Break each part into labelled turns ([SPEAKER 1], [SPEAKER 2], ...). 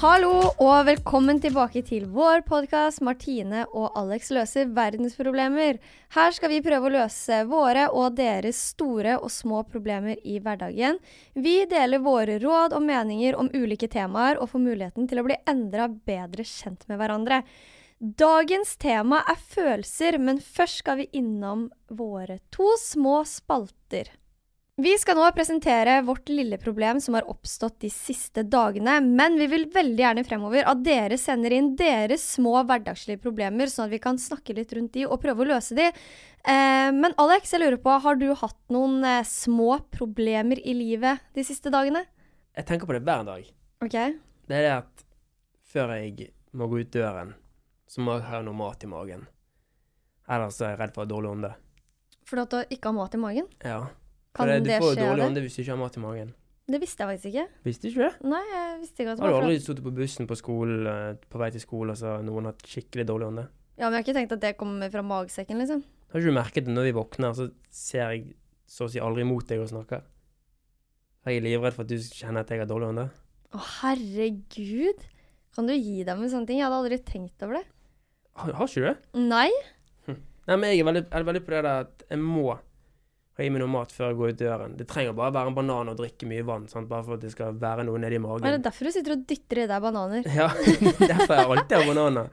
[SPEAKER 1] Hallo og velkommen tilbake til vår podkast 'Martine og Alex løser verdensproblemer'. Her skal vi prøve å løse våre og deres store og små problemer i hverdagen. Vi deler våre råd og meninger om ulike temaer og får muligheten til å bli endra bedre kjent med hverandre. Dagens tema er følelser, men først skal vi innom våre to små spalter. Vi skal nå presentere vårt lille problem som har oppstått de siste dagene, men vi vil veldig gjerne fremover at dere sender inn deres små hverdagslige problemer, sånn at vi kan snakke litt rundt de og prøve å løse de. Eh, men Alex, jeg lurer på, har du hatt noen eh, små problemer i livet de siste dagene?
[SPEAKER 2] Jeg tenker på det hver dag.
[SPEAKER 1] Ok.
[SPEAKER 2] Det er det at før jeg må gå ut døren, så må jeg ha noe mat i magen. Ellers er jeg redd for å ha dårlig ånde.
[SPEAKER 1] For at du ikke har mat i magen?
[SPEAKER 2] Ja. For
[SPEAKER 1] Kan
[SPEAKER 2] det, du
[SPEAKER 1] det
[SPEAKER 2] får
[SPEAKER 1] skje av
[SPEAKER 2] dårlig
[SPEAKER 1] det?
[SPEAKER 2] ånde hvis du ikke har mat i magen.
[SPEAKER 1] Det visste jeg faktisk ikke.
[SPEAKER 2] Visste du ikke det?
[SPEAKER 1] Nei, jeg visste ikke at det
[SPEAKER 2] Har
[SPEAKER 1] var
[SPEAKER 2] du
[SPEAKER 1] for at-
[SPEAKER 2] aldri sittet på bussen på skolen, eh, på vei til skolen, og så har noen hatt skikkelig dårlig ånde?
[SPEAKER 1] Ja, men jeg har ikke tenkt at det kommer fra magsekken, liksom.
[SPEAKER 2] Har ikke du merket det når vi våkner, så ser jeg så å si aldri mot deg og snakker? Jeg er livredd for at du kjenner at jeg har dårlig ånde.
[SPEAKER 1] Å, herregud. Kan du gi deg med sånne ting? Jeg hadde aldri tenkt over det.
[SPEAKER 2] Har, har ikke du det?
[SPEAKER 1] Nei.
[SPEAKER 2] Nei, men jeg er veldig, er veldig på det der at jeg må ha i meg noe mat før jeg går ut døren. Det trenger bare være en banan og drikke mye vann, sant? bare for at det skal være noe nedi magen.
[SPEAKER 1] Er det derfor du sitter og dytter i deg bananer?
[SPEAKER 2] Ja, derfor jeg alltid har bananer.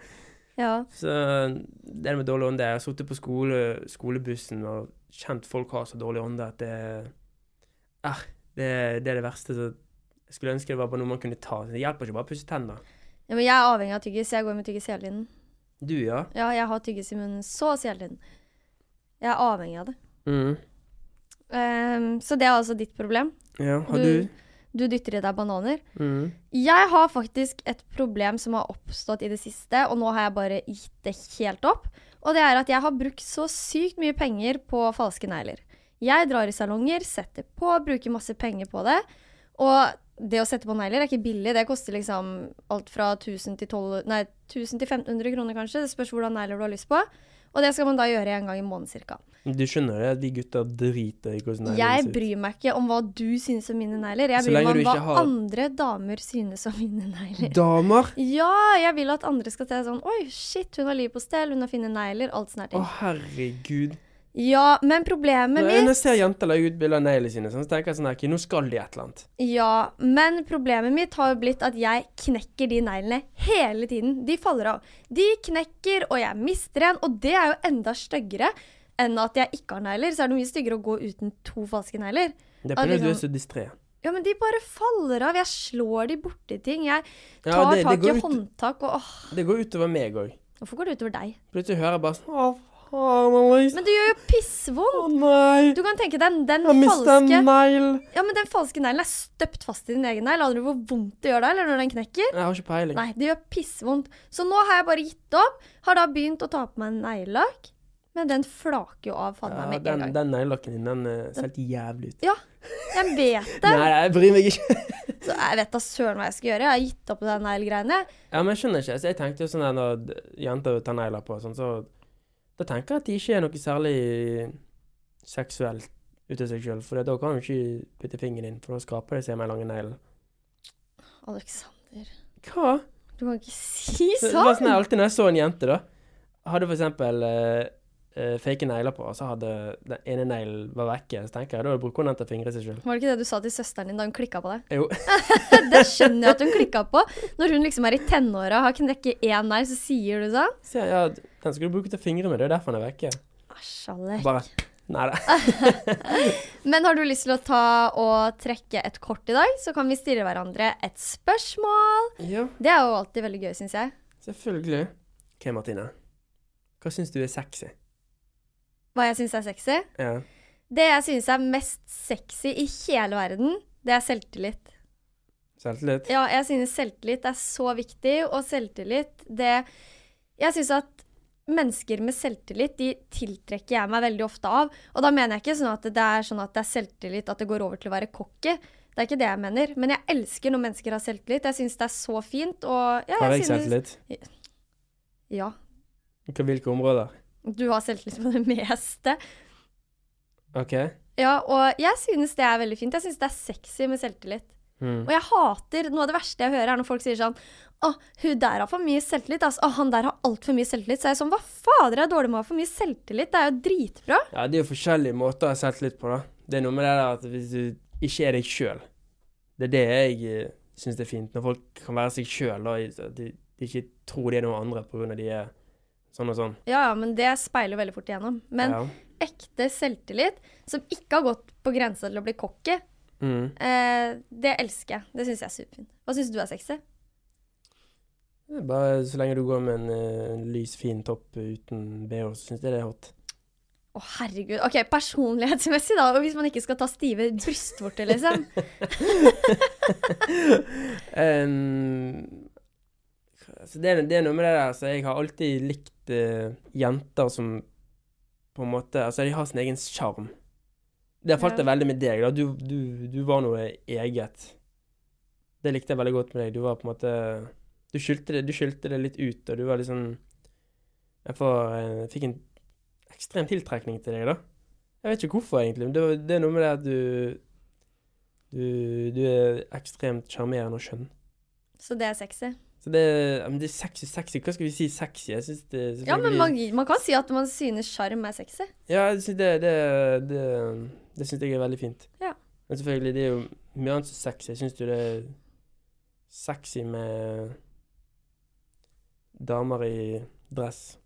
[SPEAKER 1] Ja.
[SPEAKER 2] Så det med dårlig ånde Jeg har sittet på skole, skolebussen og kjent folk har så dårlig ånde at det, eh, det, det er det verste. Så jeg skulle ønske det var bare noe man kunne ta. Det hjelper ikke bare å pusse tenner.
[SPEAKER 1] ja. Men jeg er avhengig av tyggis. Jeg går med tyggis hele tiden.
[SPEAKER 2] Du, ja.
[SPEAKER 1] Ja, jeg har tyggis i munnen så å si hele tiden. Jeg er avhengig av det.
[SPEAKER 2] Mm.
[SPEAKER 1] Ehm, så det er altså ditt problem.
[SPEAKER 2] Ja, har du?
[SPEAKER 1] Du- Du dytter i deg bananer.
[SPEAKER 2] Mm.
[SPEAKER 1] Jeg har faktisk et problem som har oppstått i det siste, og nå har jeg bare gitt det helt opp. Og det er at jeg har brukt så sykt mye penger på falske negler. Jeg drar i salonger, setter på, bruker masse penger på det. Og det å sette på negler er ikke billig. Det koster liksom alt fra 1000 til, 12, nei, 1000 til 1500 kroner, kanskje. Det spørs hvordan negler du har lyst på. Og det skal man da gjøre en gang i måneden cirka.
[SPEAKER 2] Du skjønner det? at Vi gutter driter i hvordan det
[SPEAKER 1] Jeg bryr meg ikke om hva du synes om mine negler. Jeg
[SPEAKER 2] Så
[SPEAKER 1] bryr
[SPEAKER 2] lenge
[SPEAKER 1] meg
[SPEAKER 2] du
[SPEAKER 1] om hva
[SPEAKER 2] ikke har-
[SPEAKER 1] andre damer synes om mine negler.
[SPEAKER 2] Damer!
[SPEAKER 1] Ja, jeg vil at andre skal se sånn Oi, shit, hun har liv på stell, hun har fine negler, alt sånne her
[SPEAKER 2] Å,
[SPEAKER 1] ting.
[SPEAKER 2] herregud.
[SPEAKER 1] Ja, men problemet
[SPEAKER 2] Når jeg-
[SPEAKER 1] mitt
[SPEAKER 2] når jeg ser jenter legge ut bilder av neglene sine, sånn, så tenker jeg sånn her, «Ok, nå skal de et eller annet.
[SPEAKER 1] Ja, men problemet mitt har jo blitt at jeg knekker de neglene hele tiden. De faller av. De knekker, og jeg mister en, og det er jo enda styggere enn at jeg ikke har negler. Så er det mye styggere å gå uten to falske negler.
[SPEAKER 2] Det er
[SPEAKER 1] Ja,
[SPEAKER 2] på grunn av at du er
[SPEAKER 1] liksom.
[SPEAKER 2] så distré.
[SPEAKER 1] Ja, men de bare faller av. Jeg slår de borti ting. Jeg
[SPEAKER 2] Ja,
[SPEAKER 1] tar
[SPEAKER 2] det- det
[SPEAKER 1] tak
[SPEAKER 2] går
[SPEAKER 1] i
[SPEAKER 2] ut-
[SPEAKER 1] håndtak og åh,
[SPEAKER 2] Det går utover meg òg.
[SPEAKER 1] Hvorfor går det utover deg?
[SPEAKER 2] Plutselig hører jeg bare sånn Å, faen, Alex.
[SPEAKER 1] Men det gjør jo pissvondt.
[SPEAKER 2] Å nei.
[SPEAKER 1] Du kan tenke deg den
[SPEAKER 2] Jeg mistet
[SPEAKER 1] falske
[SPEAKER 2] en negl.
[SPEAKER 1] Ja, men den falske neglen er støpt fast i din egen negl. Aner du hvor vondt det gjør da, eller når den knekker?
[SPEAKER 2] Jeg har ikke peiling.
[SPEAKER 1] Nei, det gjør pissvondt. Så nå har jeg bare gitt opp. Har da begynt å ta på meg neglelakk. Men den flaker jo av faen meg
[SPEAKER 2] ja,
[SPEAKER 1] med en
[SPEAKER 2] den
[SPEAKER 1] gang.
[SPEAKER 2] den neglelakken din, den eh, ser helt jævlig ut.
[SPEAKER 1] Ja, jeg vet det.
[SPEAKER 2] Nei, jeg bryr meg ikke.
[SPEAKER 1] Så jeg vet da søren hva jeg skal gjøre. Jeg har gitt opp på de neglegreiene.
[SPEAKER 2] Ja, men jeg skjønner ikke. Så jeg tenkte jo sånn her når d- jenter tar negler på, og sånn, så Da tenker jeg at de ikke er noe særlig seksuelt ute av seg sjøl, for da kan du ikke putte fingeren inn, for da skraper det seg med lange negler.
[SPEAKER 1] Alexander,
[SPEAKER 2] Hva?
[SPEAKER 1] du kan ikke si
[SPEAKER 2] Det var sånn jeg
[SPEAKER 1] sånn.
[SPEAKER 2] alltid når jeg så en jente, da. Hadde for eksempel eh, eh, fake negler på, og så hadde den ene neglen var vekke. Så tenker jeg, da bruker hun den til å fingre seg sjøl.
[SPEAKER 1] Var det ikke det du sa til søsteren din da hun klikka på deg?
[SPEAKER 2] Jo.
[SPEAKER 1] Det skjønner jeg at hun klikka på. Når hun liksom er i tenåra og har knekket én negl, så sier du sånn.
[SPEAKER 2] Så jeg, ja, den skal du bruke til å fingre med, det er derfor den er vekke.
[SPEAKER 1] Æsj, Alex.
[SPEAKER 2] Bare Nei da.
[SPEAKER 1] Men har du lyst til å ta og trekke et kort i dag, så kan vi stille hverandre et spørsmål.
[SPEAKER 2] Ja,
[SPEAKER 1] Det er jo alltid veldig gøy, syns jeg.
[SPEAKER 2] selvfølgelig. OK, Martine. Hva syns du er sexy?
[SPEAKER 1] Hva jeg syns er sexy.
[SPEAKER 2] Ja.
[SPEAKER 1] Det jeg syns er mest sexy i hele verden, det er selvtillit.
[SPEAKER 2] Selvtillit?
[SPEAKER 1] Ja, jeg synes selvtillit er så viktig, og selvtillit, det Jeg synes at mennesker med selvtillit, de tiltrekker jeg meg veldig ofte av. Og da mener jeg ikke sånn at det er sånn at det er selvtillit at det går over til å være cocky. Det er ikke det jeg mener, men jeg elsker når mennesker har selvtillit. Jeg synes det er så fint, og ja,
[SPEAKER 2] Har
[SPEAKER 1] jeg
[SPEAKER 2] jeg
[SPEAKER 1] synes
[SPEAKER 2] selvtillit?
[SPEAKER 1] Ja.
[SPEAKER 2] Hva- Hvilke områder?
[SPEAKER 1] Du har selvtillit på det meste.
[SPEAKER 2] OK.
[SPEAKER 1] Ja, og jeg synes det er veldig fint. Jeg synes det er sexy med selvtillit.
[SPEAKER 2] Hmm.
[SPEAKER 1] Og jeg hater Noe av det verste jeg hører, er når folk sier sånn Å, hun der har for mye selvtillit. Altså, å, han der har altfor mye selvtillit. Så er jeg sånn Hva fader er dårlig med å ha for mye selvtillit? Det er jo dritbra.
[SPEAKER 2] Ja, det er jo forskjellige måter å ha selvtillit på, da. Det er noe med det der at hvis du ikke er deg sjøl Det er det jeg syns er fint, når folk kan være seg sjøl, da. At de, de ikke tror de er noen andre på grunn av de er sånn og sånn.
[SPEAKER 1] Ja, ja, men det speiler veldig fort igjennom. Men
[SPEAKER 2] ja.
[SPEAKER 1] ekte selvtillit, som ikke har gått på grensa til å bli cocky,
[SPEAKER 2] Mm.
[SPEAKER 1] eh, det elsker jeg. Det syns jeg er superfint. Hva syns du er sexy?
[SPEAKER 2] Det er Bare så lenge du går med en, eh, en lys, fin topp uten bh, så syns jeg det er hot.
[SPEAKER 1] Å, herregud. OK, personlighetsmessig, da. Og hvis man ikke skal ta stive brystvorter, liksom.
[SPEAKER 2] Em, altså det, er- det er noe med det der. Altså, jeg har alltid likt eh, jenter som på en måte Altså, de har sin egen sjarm. Der falt
[SPEAKER 1] Ja.
[SPEAKER 2] det veldig med deg. da. Du, du, du var noe eget. Det likte jeg veldig godt med deg. Du var på en måte Du skyldte det, du skyldte det litt ut, og du var liksom Jeg, får, eh, jeg fikk en ekstrem tiltrekning til deg, da. Jeg vet ikke hvorfor, egentlig, men det, var- det er noe med det at du Du, du er ekstremt sjarmerende og skjønn.
[SPEAKER 1] Så det er sexy.
[SPEAKER 2] Så det, ja, men det er sexy, sexy. Hva skal vi si sexy? Jeg synes det
[SPEAKER 1] Ja, men
[SPEAKER 2] selvfølgelig-
[SPEAKER 1] man, man kan si at man synes sjarm er sexy.
[SPEAKER 2] Ja, jeg synes det, det, det, det synes jeg er veldig fint.
[SPEAKER 1] Ja.
[SPEAKER 2] Men selvfølgelig, det er jo mye annet som er sexy. Jeg synes jo det er sexy med damer i dress.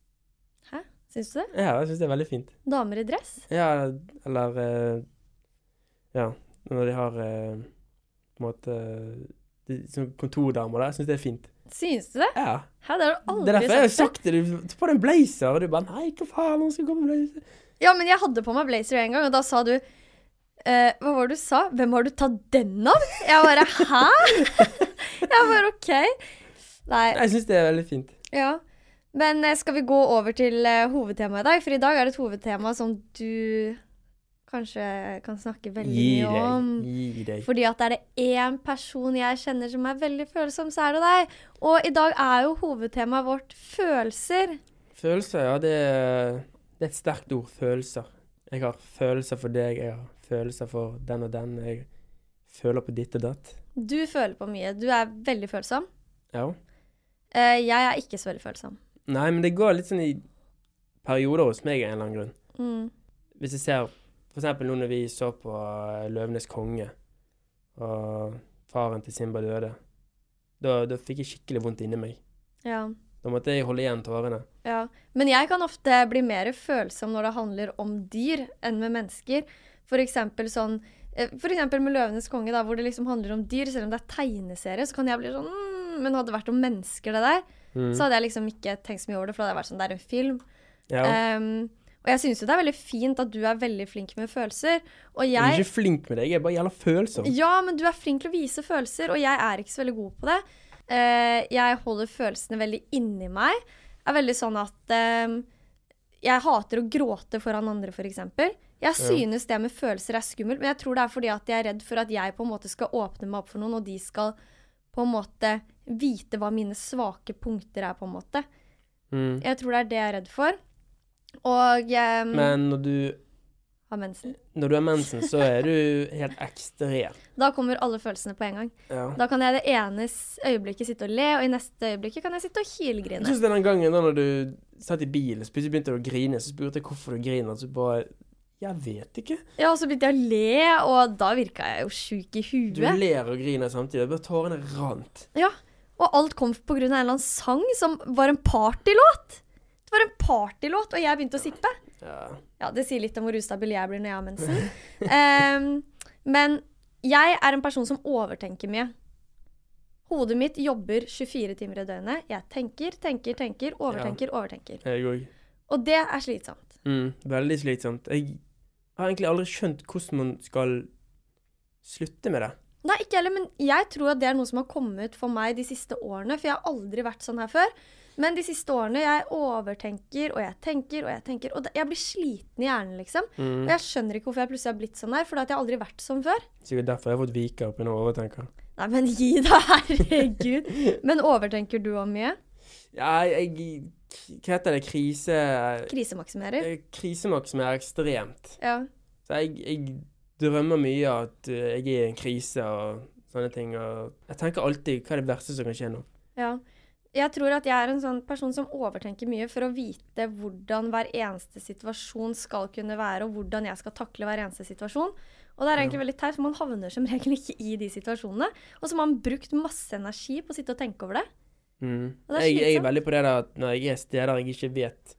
[SPEAKER 1] Syns du det?
[SPEAKER 2] Ja, jeg synes det er veldig fint.
[SPEAKER 1] Damer i dress?
[SPEAKER 2] Ja, eller eh, Ja, når de har eh, på en måte de- Sånn kontordamer der. Jeg synes det er fint.
[SPEAKER 1] Syns du det?
[SPEAKER 2] Ja.
[SPEAKER 1] Hæ, det
[SPEAKER 2] Det
[SPEAKER 1] har du
[SPEAKER 2] er
[SPEAKER 1] aldri
[SPEAKER 2] derfor jeg har
[SPEAKER 1] sagt.
[SPEAKER 2] sagt det. Du tar på deg en blazer, og du bare Nei, hva faen, nå skal jeg gå med blazer.
[SPEAKER 1] før. Ja, men jeg hadde på meg blazer en gang, og da sa du eh, Hva var det du sa? Hvem har du tatt den av? Jeg bare Hæ? jeg bare OK. Nei.
[SPEAKER 2] Jeg syns det er veldig fint.
[SPEAKER 1] Ja. Men eh, skal vi gå over til eh, hovedtemaet i dag? For i dag er det et hovedtema som du kanskje kan snakke veldig
[SPEAKER 2] Gi
[SPEAKER 1] mye
[SPEAKER 2] deg.
[SPEAKER 1] om.
[SPEAKER 2] Gi deg.
[SPEAKER 1] Fordi at er det én person jeg kjenner som er veldig følsom, så er det deg. Og i dag er jo hovedtemaet vårt følelser.
[SPEAKER 2] Følelser, ja. Det er, det er et sterkt ord. Følelser. Jeg har følelser for deg, jeg har følelser for den og den. Jeg føler på ditt og datt.
[SPEAKER 1] Du føler på mye. Du er veldig følsom.
[SPEAKER 2] Ja.
[SPEAKER 1] Eh, jeg er ikke så veldig følsom.
[SPEAKER 2] Nei, men det går litt sånn i perioder hos meg av en eller annen grunn.
[SPEAKER 1] Mm.
[SPEAKER 2] Hvis jeg ser For eksempel nå når vi så på eh, 'Løvenes konge', og faren til Simba døde, da, da fikk jeg skikkelig vondt inni meg.
[SPEAKER 1] Ja.
[SPEAKER 2] Da måtte jeg holde igjen tårene.
[SPEAKER 1] ja. Men jeg kan ofte bli mer følsom når det handler om dyr enn med mennesker. For eksempel sånn eh, for eksempel med 'Løvenes konge', da, hvor det liksom handler om dyr. Selv om det er tegneserie, så kan jeg bli sånn mm, Men hadde det vært om mennesker, det der, så hadde jeg liksom ikke tenkt så mye over det. For da hadde jeg vært sånn, det er en film.
[SPEAKER 2] Ja.
[SPEAKER 1] Ehm, og jeg syns jo det er veldig fint at du er veldig flink med følelser. Og
[SPEAKER 2] Jeg er
[SPEAKER 1] jeg
[SPEAKER 2] ikke flink med det, jeg er bare jævla følsom.
[SPEAKER 1] Ja, men du er flink til å vise følelser, og jeg er ikke så veldig god på det. Eh, jeg holder følelsene veldig inni meg. Er veldig sånn at ehm, jeg hater å gråte foran andre, f.eks. Jeg synes det med følelser er skummelt, men jeg tror det er fordi at jeg er redd for at jeg på en måte skal åpne meg opp for noen, og de skal på en måte vite hva mine svake punkter er, på en måte.
[SPEAKER 2] Mm.
[SPEAKER 1] Jeg tror det er det jeg er redd for. Og ehm,
[SPEAKER 2] Men når du,
[SPEAKER 1] har mensen.
[SPEAKER 2] når du har mensen, så er du helt ekstrem.
[SPEAKER 1] Da kommer alle følelsene på en gang.
[SPEAKER 2] Ja.
[SPEAKER 1] Da kan jeg det ene s- øyeblikket sitte og le, og i neste øyeblikk kan jeg sitte og
[SPEAKER 2] Jeg
[SPEAKER 1] hylgrine.
[SPEAKER 2] synes den gangen da når du satt i bilen, så plutselig begynte du å grine, så spurte jeg hvorfor du griner, så bare Jeg vet ikke.
[SPEAKER 1] Ja, og så begynte jeg å le, og da virka jeg jo sjuk i
[SPEAKER 2] Du
[SPEAKER 1] huet.
[SPEAKER 2] ler og griner samtidig. Bare tårene rant.
[SPEAKER 1] Ja, Og alt kom på grunn av en eller annen sang som var en partylåt. Det var en partylåt, og jeg begynte å sippe.
[SPEAKER 2] Ja.
[SPEAKER 1] Ja, det sier litt om hvor ustabil jeg blir når jeg har mensen. Ehm, men jeg er en person som overtenker mye. Hodet mitt jobber 24 timer i døgnet. Jeg tenker, tenker, tenker, overtenker, overtenker.
[SPEAKER 2] Jeg òg.
[SPEAKER 1] Og det er slitsomt.
[SPEAKER 2] Mm, veldig slitsomt. Jeg har egentlig aldri skjønt hvordan man skal slutte med det.
[SPEAKER 1] Nei, ikke heller, men jeg tror at det er noe som har kommet for meg de siste årene, for jeg har aldri vært sånn her før. Men de siste årene jeg overtenker, og jeg tenker, og jeg tenker, og det- jeg blir sliten i hjernen, liksom. Og jeg skjønner ikke hvorfor jeg plutselig har blitt sånn her, for jeg har aldri vært sånn før.
[SPEAKER 2] Sikkert derfor jeg har fått vike opp i noe overtenker.
[SPEAKER 1] Nei, men gi deg, herregud. Men overtenker du om mye?
[SPEAKER 2] Ja, jeg Hva heter det? Krise
[SPEAKER 1] Krisemaksimerer?
[SPEAKER 2] eh, Krisemaks som er ekstremt.
[SPEAKER 1] Ja.
[SPEAKER 2] Så jeg, jeg drømmer mye at eh, jeg er i en krise og sånne ting. Og jeg tenker alltid hva er det verste som kan skje nå.
[SPEAKER 1] ja. Jeg tror at jeg er en sånn person som overtenker mye for å vite hvordan hver eneste situasjon skal kunne være, og hvordan jeg skal takle hver eneste situasjon. Og det er egentlig veldig teit, for man havner som regel ikke i de situasjonene. Og så har man brukt masse energi på å sitte og tenke over det.
[SPEAKER 2] Mm.
[SPEAKER 1] Og det er
[SPEAKER 2] Jeg, jeg
[SPEAKER 1] slitsomt.
[SPEAKER 2] er veldig på det der at når jeg er steder jeg ikke vet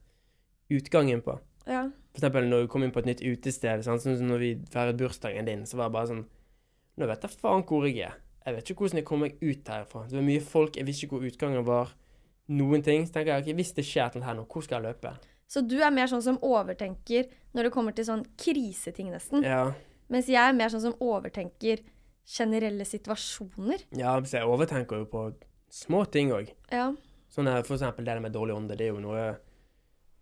[SPEAKER 2] utgangen på
[SPEAKER 1] Ja.
[SPEAKER 2] For eksempel når vi kom inn på et nytt utested, sant? sånn som når vi feiret bursdagen din, så var det bare sånn Nå vet jeg faen hvor jeg er. Jeg vet ikke hvordan jeg kommer meg ut herfra. Det var mye folk, jeg visste ikke hvor utgangen var. Noen ting. Så tenker jeg ok, hvis det skjer noe her nå, hvor skal jeg løpe?
[SPEAKER 1] Så du er mer sånn som overtenker når det kommer til sånn kriseting, nesten.
[SPEAKER 2] Ja,
[SPEAKER 1] Mens jeg er mer sånn som overtenker generelle situasjoner.
[SPEAKER 2] ja så jeg overtenker jo på små ting òg.
[SPEAKER 1] Ja.
[SPEAKER 2] Sånn her, for eksempel det der med dårlig ånde, det er jo noe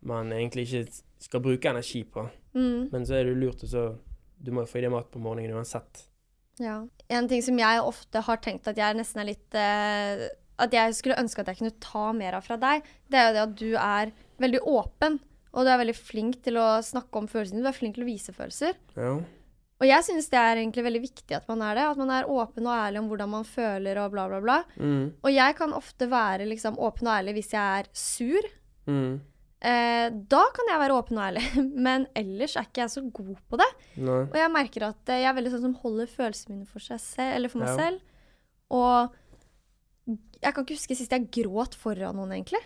[SPEAKER 2] man egentlig ikke skal bruke energi på.
[SPEAKER 1] Mm,
[SPEAKER 2] Men så er det jo lurt, og så Du må jo få i deg mat på morgenen uansett.
[SPEAKER 1] ja. En ting som jeg ofte har tenkt at jeg nesten er litt eh, At jeg skulle ønske at jeg kunne ta mer av fra deg, det er jo det at du er veldig åpen. Og du er veldig flink til å snakke om følelsene dine. Du er flink til å vise følelser.
[SPEAKER 2] Ja.
[SPEAKER 1] Og jeg syns det er egentlig veldig viktig at man er det. At man er åpen og ærlig om hvordan man føler og bla, bla, bla.
[SPEAKER 2] Mm.
[SPEAKER 1] Og jeg kan ofte være liksom åpen og ærlig hvis jeg er sur.
[SPEAKER 2] Mm.
[SPEAKER 1] Eh, da kan jeg være åpen og ærlig, men ellers er ikke jeg så god på det.
[SPEAKER 2] Nei.
[SPEAKER 1] Og jeg merker at eh, jeg er veldig sånn som holder følelsene mine for, seg selv, eller for meg
[SPEAKER 2] Ja.
[SPEAKER 1] selv. Og jeg kan ikke huske sist jeg gråt foran noen, egentlig.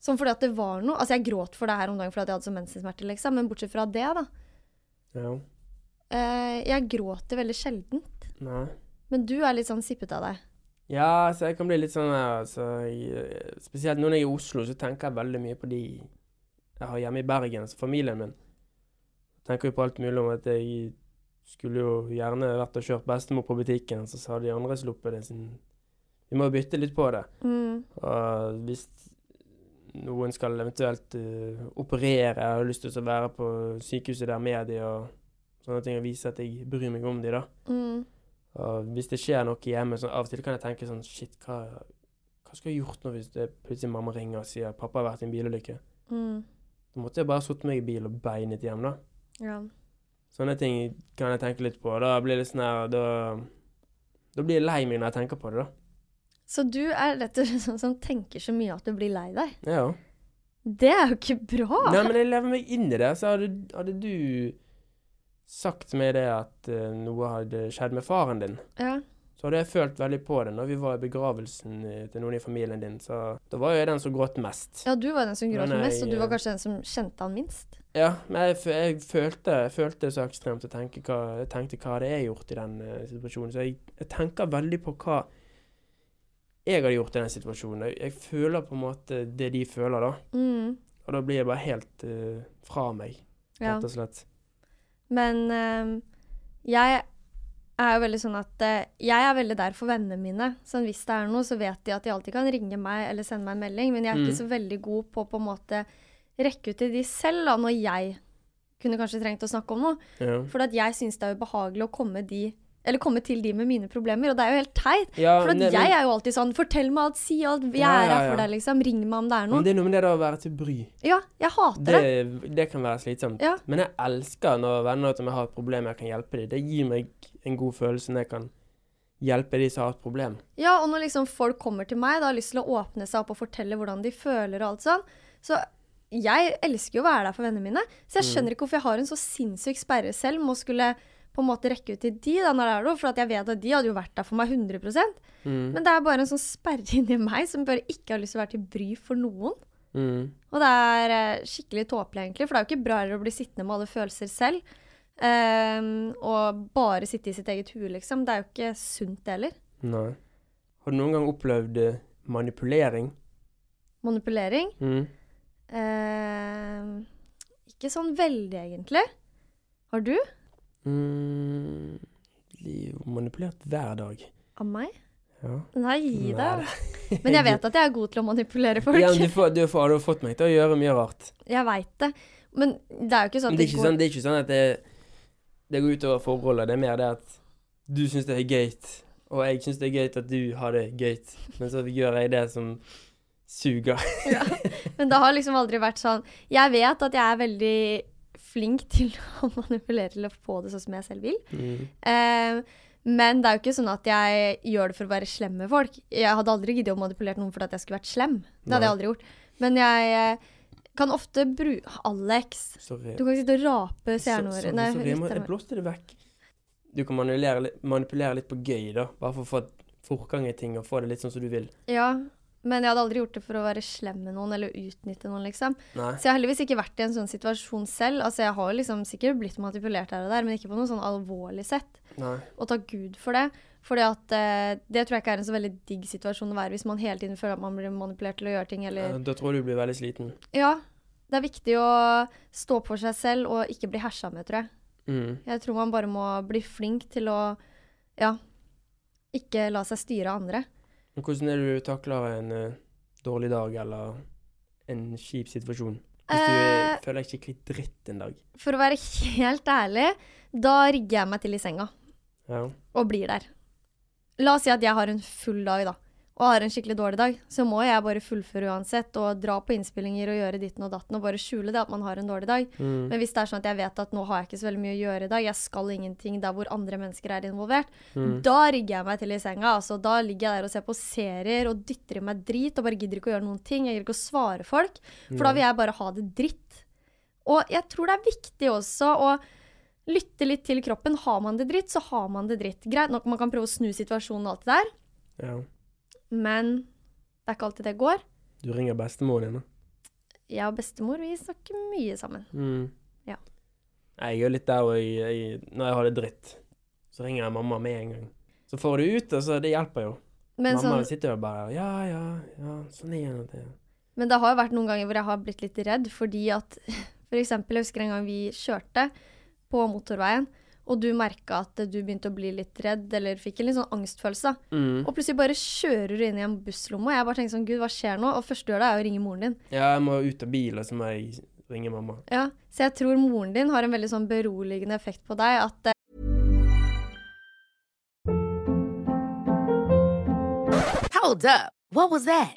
[SPEAKER 1] Sånn fordi at det var noe. Altså, jeg gråt for det her om dagen fordi at jeg hadde så mensensmerter, liksom. Men bortsett fra det, da.
[SPEAKER 2] Ja.
[SPEAKER 1] Eh, jeg gråter veldig sjeldent.
[SPEAKER 2] Nei.
[SPEAKER 1] Men du er litt sånn sippet av deg.
[SPEAKER 2] Ja, så jeg kan bli litt sånn her altså, jeg, Spesielt nå når jeg er i Oslo, så tenker jeg veldig mye på de jeg har hjemme i Bergen, altså familien min. Tenker jo på alt mulig om at jeg skulle jo gjerne vært og kjørt bestemor på butikken, så sa de andre sluppet det sin Vi må jo bytte litt på det.
[SPEAKER 1] Mm.
[SPEAKER 2] Og hvis noen skal eventuelt eh, operere, jeg har lyst til å være på sykehuset der med de og sånne ting, og vise at jeg bryr meg om de, da.
[SPEAKER 1] Mm.
[SPEAKER 2] Og hvis det skjer noe hjemme, så av og til kan jeg tenke sånn Shit, hva, hva skulle jeg gjort nå hvis det plutselig mamma ringer og sier pappa har vært i en bilulykke?
[SPEAKER 1] Mm.
[SPEAKER 2] Da måtte jeg bare satt meg i bil og beinet hjem, da.
[SPEAKER 1] Ja.
[SPEAKER 2] Sånne ting kan jeg tenke litt på. Da blir det sånn her Da, da blir jeg lei meg når jeg tenker på det, da.
[SPEAKER 1] Så du er rett og slett sånn som tenker så mye at du blir lei deg.
[SPEAKER 2] Ja.
[SPEAKER 1] Det er jo ikke bra!
[SPEAKER 2] Nei, men jeg lever meg inn i det. Så hadde, hadde du sagt meg det at eh, noe hadde skjedd med faren din,
[SPEAKER 1] Ja.
[SPEAKER 2] så hadde jeg følt veldig på det. Når vi var i begravelsen eh, til noen i familien din, så da var jo jeg den som gråt mest.
[SPEAKER 1] Ja, du var den som gråt
[SPEAKER 2] Men
[SPEAKER 1] mest, og
[SPEAKER 2] jeg,
[SPEAKER 1] du var
[SPEAKER 2] eh,
[SPEAKER 1] kanskje den som kjente han minst.
[SPEAKER 2] Ja, men jeg, f- jeg, følte, jeg følte det så ekstremt. Jeg, tenker hva, jeg tenkte hva hadde jeg gjort i den eh, situasjonen. Så jeg, jeg tenker veldig på hva jeg hadde gjort i den situasjonen. Jeg, jeg føler på en måte det de føler, da.
[SPEAKER 1] Mm,
[SPEAKER 2] Og da blir jeg bare helt eh, fra meg,
[SPEAKER 1] ja.
[SPEAKER 2] rett og slett.
[SPEAKER 1] Men eh, jeg er jo veldig sånn at eh, jeg er veldig der for vennene mine. Sånn hvis det er noe, så vet de at de alltid kan ringe meg eller sende meg en melding, men jeg er
[SPEAKER 2] Mm.
[SPEAKER 1] ikke så veldig god på å på en måte rekke ut til de selv, da, når jeg kunne kanskje trengt å snakke om noe.
[SPEAKER 2] Ja.
[SPEAKER 1] For at jeg syns det er ubehagelig å komme de eller komme til de med mine problemer, og det er jo helt teit.
[SPEAKER 2] Ja,
[SPEAKER 1] For at
[SPEAKER 2] ne- men-
[SPEAKER 1] jeg er jo alltid sånn 'fortell meg alt, si alt, jeg
[SPEAKER 2] Ja,
[SPEAKER 1] er
[SPEAKER 2] ja,
[SPEAKER 1] her
[SPEAKER 2] ja.
[SPEAKER 1] for deg', liksom. Ring meg om det er
[SPEAKER 2] Men
[SPEAKER 1] noe.
[SPEAKER 2] det er noe med det da å være til bry.
[SPEAKER 1] Ja, jeg hater
[SPEAKER 2] Det,
[SPEAKER 1] det.
[SPEAKER 2] det kan være slitsomt.
[SPEAKER 1] Ja.
[SPEAKER 2] Men jeg elsker når venner som jeg har et problem, jeg kan hjelpe dem. Det gir meg en god følelse når jeg kan hjelpe de som har et problem.
[SPEAKER 1] Ja, og når liksom folk kommer til meg da har lyst til å åpne seg opp og fortelle hvordan de føler og alt sånn, så jeg elsker jo å være der for vennene mine, så jeg skjønner ikke hvorfor jeg har en så sinnssyk sperre selv med å skulle på en måte rekke ut til de da når det er noe, for at jeg vet at de hadde jo vært der for meg 100 Men det er bare en sånn sperre inni meg som bare ikke har lyst til å være til bry for noen.
[SPEAKER 2] Mm.
[SPEAKER 1] Og det er eh, skikkelig tåpelig, egentlig, for det er jo ikke bra heller å bli sittende med alle følelser selv. Ehm, og bare sitte i sitt eget hue, liksom. Det er jo ikke sunt, det heller.
[SPEAKER 2] Nei. Har du noen gang opplevd eh, manipulering?
[SPEAKER 1] Manipulering.
[SPEAKER 2] Mm.
[SPEAKER 1] Ehm, ikke sånn veldig, egentlig. Har du?
[SPEAKER 2] Mm. Blir jo manipulert hver dag.
[SPEAKER 1] Av meg?
[SPEAKER 2] Ja.
[SPEAKER 1] Nei, gi deg.
[SPEAKER 2] Nei,
[SPEAKER 1] Men jeg vet at jeg er god til å manipulere folk.
[SPEAKER 2] Ja, men du, får, du, får, du har fått meg til å gjøre mye rart.
[SPEAKER 1] Jeg veit det. Men det er jo ikke sånn
[SPEAKER 2] Men
[SPEAKER 1] at
[SPEAKER 2] det er
[SPEAKER 1] det
[SPEAKER 2] ikke
[SPEAKER 1] går
[SPEAKER 2] sånn, det er ikke sånn at det, det går utover forholdet. Det er mer det at du syns det er gøy, og jeg syns det er gøy at du har det gøy, men så gjør jeg det som suger. sånn-
[SPEAKER 1] Men det har liksom aldri vært sånn Jeg vet at jeg er veldig flink til å manipulere til å få det sånn som jeg selv vil.
[SPEAKER 2] Mm.
[SPEAKER 1] Eh, men det er jo ikke sånn at jeg gjør det for å være slem med folk. Jeg hadde aldri giddet å manipulere noen fordi at jeg skulle vært slem. Det hadde jeg aldri gjort. Men jeg eh, kan ofte bruke Alex,
[SPEAKER 2] Sorry.
[SPEAKER 1] du kan ikke sitte og rape seerne
[SPEAKER 2] Så-
[SPEAKER 1] våre.
[SPEAKER 2] sorry,
[SPEAKER 1] Nei,
[SPEAKER 2] sorry, jeg, må, jeg
[SPEAKER 1] lytterne våre.
[SPEAKER 2] blåste det vekk. Du kan manipulere, litt- manipulere litt på gøy, da. Bare for å få fortgang i ting og få det litt sånn som du vil.
[SPEAKER 1] Ja, men jeg hadde aldri gjort det for å være slem med noen eller utnytte noen, liksom.
[SPEAKER 2] Nei.
[SPEAKER 1] Så jeg har heldigvis ikke vært i en sånn situasjon selv. Altså, jeg har jo liksom sikkert blitt manipulert her og der, men ikke på noe sånn alvorlig sett.
[SPEAKER 2] Nei.
[SPEAKER 1] Og takk Gud for det. Fordi at eh, det tror jeg ikke er en så veldig digg situasjon å være hvis man hele tiden føler at man blir manipulert til å gjøre ting,
[SPEAKER 2] Ja,
[SPEAKER 1] eller
[SPEAKER 2] Da tror jeg du blir veldig sliten.
[SPEAKER 1] Ja. Det er viktig å stå på seg selv og ikke bli hersa med, tror jeg.
[SPEAKER 2] Mm.
[SPEAKER 1] Jeg tror man bare må bli flink til å Ja. Ikke la seg styre av andre.
[SPEAKER 2] Men hvordan er det du takler en eh, dårlig dag eller en kjip situasjon? Hvis du eh,
[SPEAKER 1] Eh.
[SPEAKER 2] føler deg skikkelig dritt en dag.
[SPEAKER 1] For å være helt ærlig, da rigger jeg meg til i senga.
[SPEAKER 2] Ja.
[SPEAKER 1] og blir der. La oss si at jeg har en full dag, da, og har en skikkelig dårlig dag, så må jeg bare fullføre uansett og dra på innspillinger og gjøre ditten og datten og bare skjule det at man har en dårlig dag.
[SPEAKER 2] Mm.
[SPEAKER 1] Men hvis det er sånn at jeg vet at nå har jeg ikke så veldig mye å gjøre i dag, jeg skal ingenting der hvor andre mennesker er involvert,
[SPEAKER 2] Mm.
[SPEAKER 1] da rigger jeg meg til i senga. altså Da ligger jeg der og ser på serier og dytter i meg drit og bare gidder ikke å gjøre noen ting. Jeg gidder ikke å svare folk, for
[SPEAKER 2] Mm.
[SPEAKER 1] da vil jeg bare ha det dritt. Og jeg tror det er viktig også å lytte litt til kroppen. Har man det dritt, så har man det dritt. Greit nok, man kan prøve å snu situasjonen og alt det der,
[SPEAKER 2] ja.
[SPEAKER 1] men det er ikke alltid det går.
[SPEAKER 2] Du ringer bestemoren din, da.
[SPEAKER 1] Jeg og bestemor vi snakker mye sammen.
[SPEAKER 2] Mm.
[SPEAKER 1] Ja.
[SPEAKER 2] Nei, Jeg er litt der og jeg, jeg, når jeg har det dritt, så ringer jeg mamma med en gang. Så får du ut, og så det hjelper jo.
[SPEAKER 1] Men,
[SPEAKER 2] mamma
[SPEAKER 1] sånn,
[SPEAKER 2] sitter jo bare Ja, ja, ja, sånn er det.
[SPEAKER 1] men det har jo vært noen ganger hvor jeg har blitt litt redd, fordi at For eksempel, jeg husker en gang vi kjørte på motorveien, og du merka at du begynte å bli litt redd, eller fikk en litt sånn angstfølelse. da.
[SPEAKER 2] Mm.
[SPEAKER 1] Og plutselig bare kjører du inn i en busslomme, og jeg bare tenker sånn Gud, hva skjer nå? Og første du gjør, det er å ringe moren din.
[SPEAKER 2] Ja, jeg må ut av bil, og så må jeg ringe mamma.
[SPEAKER 1] Ja, Så jeg tror moren din har en veldig sånn beroligende effekt på deg. At eh,
[SPEAKER 3] Hold up. What was that?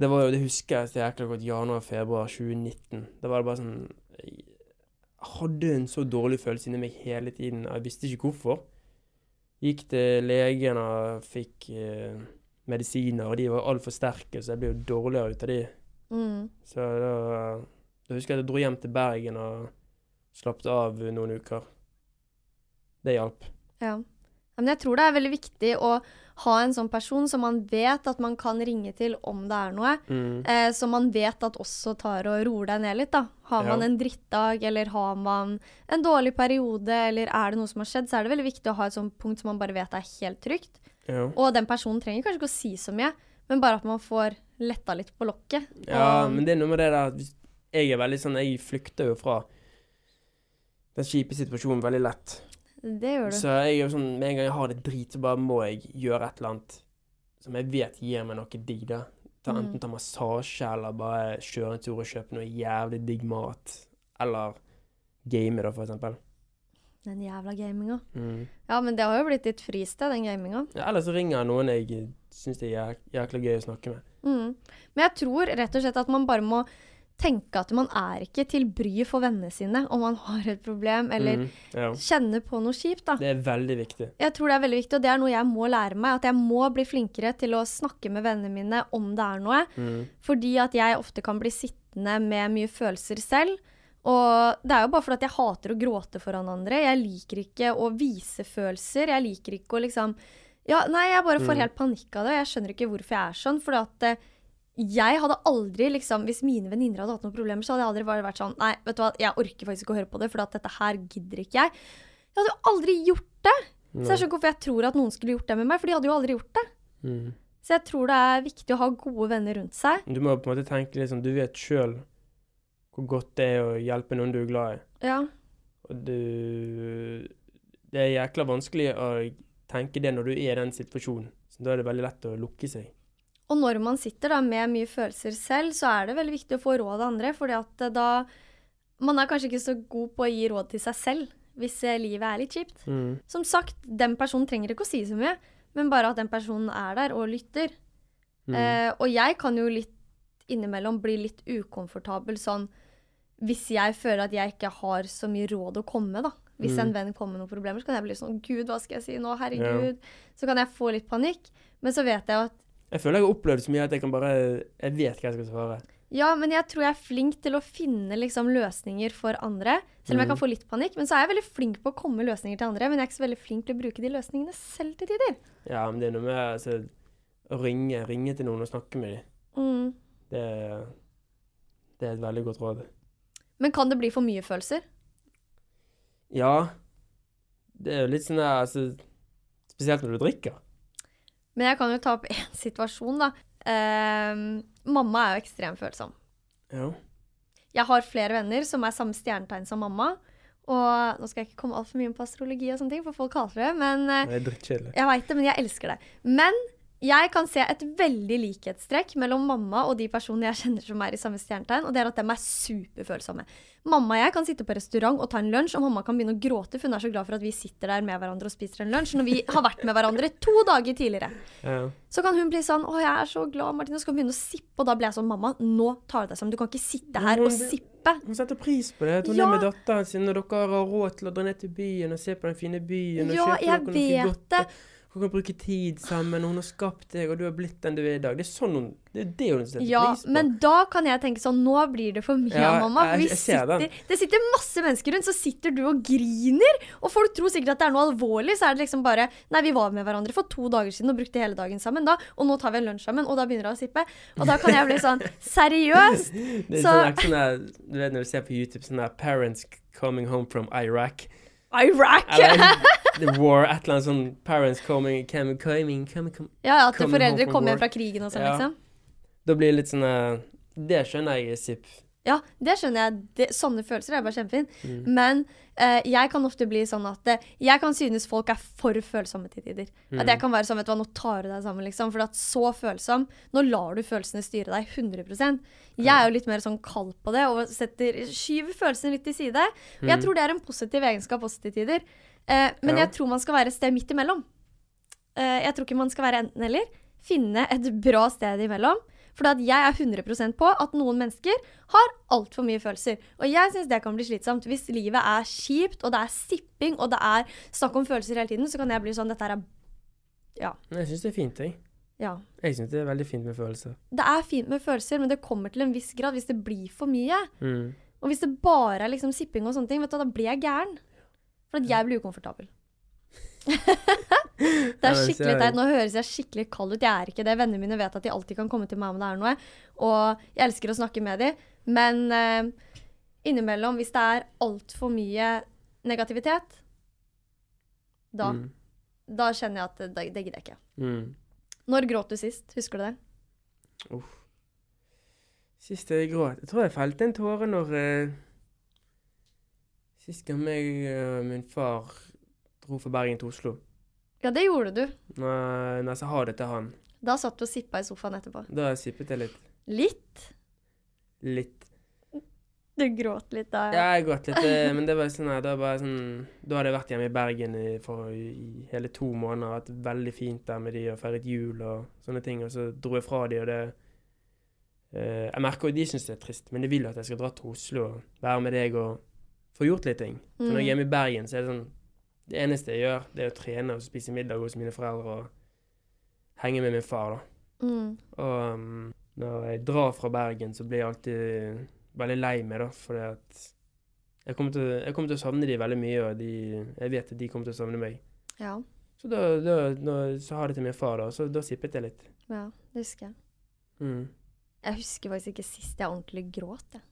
[SPEAKER 2] Det var jo, det husker jeg så jækla godt, januar-februar 2019. Da var det bare sånn Jeg hadde en så dårlig følelse inni meg hele tiden. Jeg visste ikke hvorfor. Gikk til legen og fikk eh, medisiner, og de var altfor sterke, så jeg ble jo dårligere ut av de.
[SPEAKER 1] mm.
[SPEAKER 2] Så da, da husker jeg at jeg dro hjem til Bergen og slappet av noen uker. Det hjalp.
[SPEAKER 1] Ja. Ja, Men jeg tror det er veldig viktig å ha en sånn person som man vet at man kan ringe til om det er noe,
[SPEAKER 2] Mm.
[SPEAKER 1] eh, som man vet at også tar og roer deg ned litt. da. Har
[SPEAKER 2] Ja.
[SPEAKER 1] man en drittdag, eller har man en dårlig periode, eller er det noe som har skjedd, så er det veldig viktig å ha et sånt punkt som man bare vet er helt trygt.
[SPEAKER 2] Ja.
[SPEAKER 1] Og den personen trenger kanskje ikke å si så mye, men bare at man får letta litt på lokket.
[SPEAKER 2] Ja,
[SPEAKER 1] Og-
[SPEAKER 2] men det er noe med det der at hvis- Jeg er veldig sånn Jeg flykter jo fra den kjipe situasjonen veldig lett.
[SPEAKER 1] Det gjør du.
[SPEAKER 2] Så jeg er jo sånn Med en gang jeg har det drit, så bare må jeg gjøre et eller annet som jeg vet gir meg noe digg, da. Ta,
[SPEAKER 1] Mm.
[SPEAKER 2] enten ta massasje, eller bare kjøre en tur og kjøpe noe jævlig digg mat. Eller game, da, for eksempel.
[SPEAKER 1] Den jævla gaminga.
[SPEAKER 2] Mm.
[SPEAKER 1] Ja, men det har jo blitt ditt fristed, den gaminga.
[SPEAKER 2] Ja, eller så ringer jeg noen jeg syns det er jæk- jækla gøy å snakke med.
[SPEAKER 1] Mm. Men jeg tror rett og slett at man bare må tenke at man er ikke til bry for vennene sine om man har et problem, eller
[SPEAKER 2] Mm, ja.
[SPEAKER 1] kjenner på noe kjipt, da.
[SPEAKER 2] Det er veldig viktig.
[SPEAKER 1] Jeg tror det er veldig viktig, og det er noe jeg må lære meg. At jeg må bli flinkere til å snakke med vennene mine om det er noe.
[SPEAKER 2] Mm.
[SPEAKER 1] Fordi at jeg ofte kan bli sittende med mye følelser selv. Og det er jo bare fordi at jeg hater å gråte foran andre. Jeg liker ikke å vise følelser. Jeg liker ikke å liksom Ja, nei, jeg bare får helt panikk av det, og jeg skjønner ikke hvorfor jeg er sånn. Fordi at eh, jeg hadde aldri liksom Hvis mine venninner hadde hatt noen problemer, så hadde jeg aldri bare vært sånn Nei, vet du hva, jeg orker faktisk ikke å høre på det, for at dette her gidder ikke jeg. Jeg hadde jo aldri gjort det! Så jeg skjønner ikke hvorfor jeg tror at noen skulle gjort det med meg, for de hadde jo aldri gjort det.
[SPEAKER 2] Mm.
[SPEAKER 1] Så jeg tror det er viktig å ha gode venner rundt seg.
[SPEAKER 2] Du må på en måte tenke litt sånn Du vet sjøl hvor godt det er å hjelpe noen du er glad i.
[SPEAKER 1] Ja.
[SPEAKER 2] Og du Det er jækla vanskelig å tenke det når du er i den situasjonen. Så da er det veldig lett å lukke seg.
[SPEAKER 1] Og når man sitter da med mye følelser selv, så er det veldig viktig å få råd av andre. fordi at eh, da Man er kanskje ikke så god på å gi råd til seg selv hvis eh, livet er litt kjipt.
[SPEAKER 2] Mm.
[SPEAKER 1] Som sagt, den personen trenger ikke å si så mye, men bare at den personen er der og lytter.
[SPEAKER 2] Mm.
[SPEAKER 1] Eh, og jeg kan jo litt innimellom bli litt ukomfortabel sånn hvis jeg føler at jeg ikke har så mye råd å komme med, da. Hvis en venn kommer med noen problemer, så kan jeg bli sånn Gud, hva skal jeg si nå? Herregud. Så kan jeg få litt panikk. Men så vet jeg jo at
[SPEAKER 2] Jeg føler jeg har opplevd så mye at jeg kan bare Jeg vet hva jeg skal svare.
[SPEAKER 1] Ja, men jeg tror jeg er flink til å finne liksom, løsninger for andre. Selv om jeg kan få litt panikk. Men så er jeg veldig flink på å komme med løsninger til andre. Men jeg er ikke så veldig flink til å bruke de løsningene selv til tider.
[SPEAKER 2] Ja, men det er noe med altså, å ringe, ringe til noen og snakke med dem.
[SPEAKER 1] Mm.
[SPEAKER 2] Det, er- det er et veldig godt råd.
[SPEAKER 1] Men kan det bli for mye følelser?
[SPEAKER 2] Ja. Det er jo litt sånn der altså, Spesielt når du drikker.
[SPEAKER 1] Men jeg kan jo ta opp én situasjon, da. Ehm, mamma er jo ekstremt følsom.
[SPEAKER 2] Ja.
[SPEAKER 1] Jeg har flere venner som er samme stjernetegn som mamma. Og nå skal jeg ikke komme altfor mye inn på astrologi, og sånne ting, for folk hater det. Men eh,
[SPEAKER 2] Det er drittkjedelig.
[SPEAKER 1] Jeg veit det, men jeg elsker det. Men jeg kan se et veldig likhetstrekk mellom mamma og de personene jeg kjenner som er i samme stjernetegn, og det er at de er superfølsomme. Mamma og jeg kan sitte på restaurant og ta en lunsj, og mamma kan begynne å gråte, for hun er så glad for at vi sitter der med hverandre og spiser en lunsj, når vi har vært med hverandre to dager tidligere.
[SPEAKER 2] Ja.
[SPEAKER 1] Så kan hun bli sånn 'Å, jeg er så glad, Martine.' Og så kan hun begynne å sippe, og da blir jeg sånn 'Mamma, nå tar du deg sammen. Du kan ikke sitte her og sippe.'
[SPEAKER 2] Hun setter pris på det. at Hun
[SPEAKER 1] Ja.
[SPEAKER 2] er med datteren sin, og dere har råd til å dra ned til byen og se på den fine byen. og kjøpe
[SPEAKER 1] Ja, jeg
[SPEAKER 2] dere noe
[SPEAKER 1] vet
[SPEAKER 2] godt,
[SPEAKER 1] det.
[SPEAKER 2] og Hun kan bruke tid sammen, og hun har skapt deg, og du har blitt den du er i dag. Det er sånn hun, det er det hun setter
[SPEAKER 1] Ja,
[SPEAKER 2] pris på.
[SPEAKER 1] men da kan jeg tenke sånn Nå blir det for mye,
[SPEAKER 2] Ja,
[SPEAKER 1] mamma. For
[SPEAKER 2] jeg-
[SPEAKER 1] vi
[SPEAKER 2] jeg ser
[SPEAKER 1] sitter,
[SPEAKER 2] den.
[SPEAKER 1] det sitter masse mennesker rundt, så sitter du og griner. Og folk tror sikkert at det er noe alvorlig. Så er det liksom bare Nei, vi var med hverandre for to dager siden og brukte hele dagen sammen da, og nå tar vi en lunsj sammen, og da begynner hun å sippe. Og da kan jeg bli sånn Seriøst?
[SPEAKER 2] det er
[SPEAKER 1] så-
[SPEAKER 2] sånn, ikke sånn der, du vet når du ser på YouTube, sånn der 'Parents coming home from Iraq'.
[SPEAKER 1] Iraq!
[SPEAKER 2] Eller The War, et eller annet sånn 'Parents coming, coming, coming, coming, coming.
[SPEAKER 1] Ja, ja, at
[SPEAKER 2] Coming home
[SPEAKER 1] foreldre
[SPEAKER 2] from
[SPEAKER 1] kommer hjem
[SPEAKER 2] war.
[SPEAKER 1] fra krigen og sånn,
[SPEAKER 2] Ja.
[SPEAKER 1] liksom.
[SPEAKER 2] Da blir det litt sånn eh, Det skjønner jeg er sipp.
[SPEAKER 1] Ja, det skjønner jeg. Det, sånne følelser er bare kjempefint. Men eh, jeg kan ofte bli sånn at eh, jeg kan synes folk er for følsomme til tider. At jeg kan være sånn, vet du hva, nå tar du deg sammen, liksom. For at så følsom, nå lar du følelsene styre deg 100 Jeg er jo litt mer sånn kald på det og setter, skyver følelsene litt til side. Og jeg tror det er en positiv egenskap også til tider. Eh, men
[SPEAKER 2] Ja.
[SPEAKER 1] jeg tror man skal være et sted midt imellom. Eh, jeg tror ikke man skal være enten-eller. Finne et bra sted imellom. For at jeg er 100 på at noen mennesker har altfor mye følelser. Og jeg syns det kan bli slitsomt. Hvis livet er kjipt, og det er sipping, og det er snakk om følelser hele tiden, så kan jeg bli sånn Dette her er
[SPEAKER 2] Men jeg syns det er fint, jeg.
[SPEAKER 1] Ja.
[SPEAKER 2] Jeg syns det er veldig fint med følelser.
[SPEAKER 1] Det er fint med følelser, men det kommer til en viss grad hvis det blir for mye.
[SPEAKER 2] Mm.
[SPEAKER 1] Og hvis det bare er liksom sipping og sånne ting, vet du, hva, da blir jeg gæren. For at jeg blir ukomfortabel. det
[SPEAKER 2] Ja, det ser
[SPEAKER 1] er skikkelig
[SPEAKER 2] jeg.
[SPEAKER 1] teit. Nå høres jeg skikkelig kald ut. Jeg er ikke det. Vennene mine vet at de alltid kan komme til meg om det er noe. Og jeg elsker å snakke med dem. Men eh, innimellom, hvis det er altfor mye negativitet, da,
[SPEAKER 2] Mm.
[SPEAKER 1] da kjenner jeg at det, det gidder jeg ikke.
[SPEAKER 2] Mm.
[SPEAKER 1] Når gråt du sist? Husker du det?
[SPEAKER 2] Uff. Sist jeg gråt Jeg tror jeg felte en tåre når eh, Sist gang meg og min far dro fra Bergen til Oslo.
[SPEAKER 1] Ja, det gjorde du.
[SPEAKER 2] Når, når jeg sa ha det til han.
[SPEAKER 1] Da satt du og sippa i sofaen etterpå.
[SPEAKER 2] Da sippet jeg litt.
[SPEAKER 1] Litt.
[SPEAKER 2] Litt.
[SPEAKER 1] Du gråt litt da.
[SPEAKER 2] Ja, jeg gråt litt, eh, men det var sånn her, da, var jeg sånn, da hadde jeg vært hjemme i Bergen i, for, i hele to måneder, hatt det veldig fint der med de og feiret jul og sånne ting, og så dro jeg fra de, og det eh, Jeg merker jo de syns det er trist, men de vil jo at jeg skal dra til Oslo og være med deg og få gjort litt ting. For
[SPEAKER 1] Mm.
[SPEAKER 2] når jeg er hjemme i Bergen, så er det sånn Det eneste jeg gjør, det er å trene og spise middag hos mine foreldre og henge med min far, da.
[SPEAKER 1] Mm.
[SPEAKER 2] Og um, når jeg drar fra Bergen, så blir jeg alltid veldig lei meg, da, fordi at jeg kommer, til, jeg kommer til å savne de veldig mye, og de, jeg vet at de kommer til å savne meg.
[SPEAKER 1] ja.
[SPEAKER 2] Så da, da, når- så har jeg det til min far, da, så da sippet jeg litt.
[SPEAKER 1] Ja, det husker jeg.
[SPEAKER 2] Mm.
[SPEAKER 1] Jeg husker faktisk ikke sist jeg ordentlig gråt. Jeg.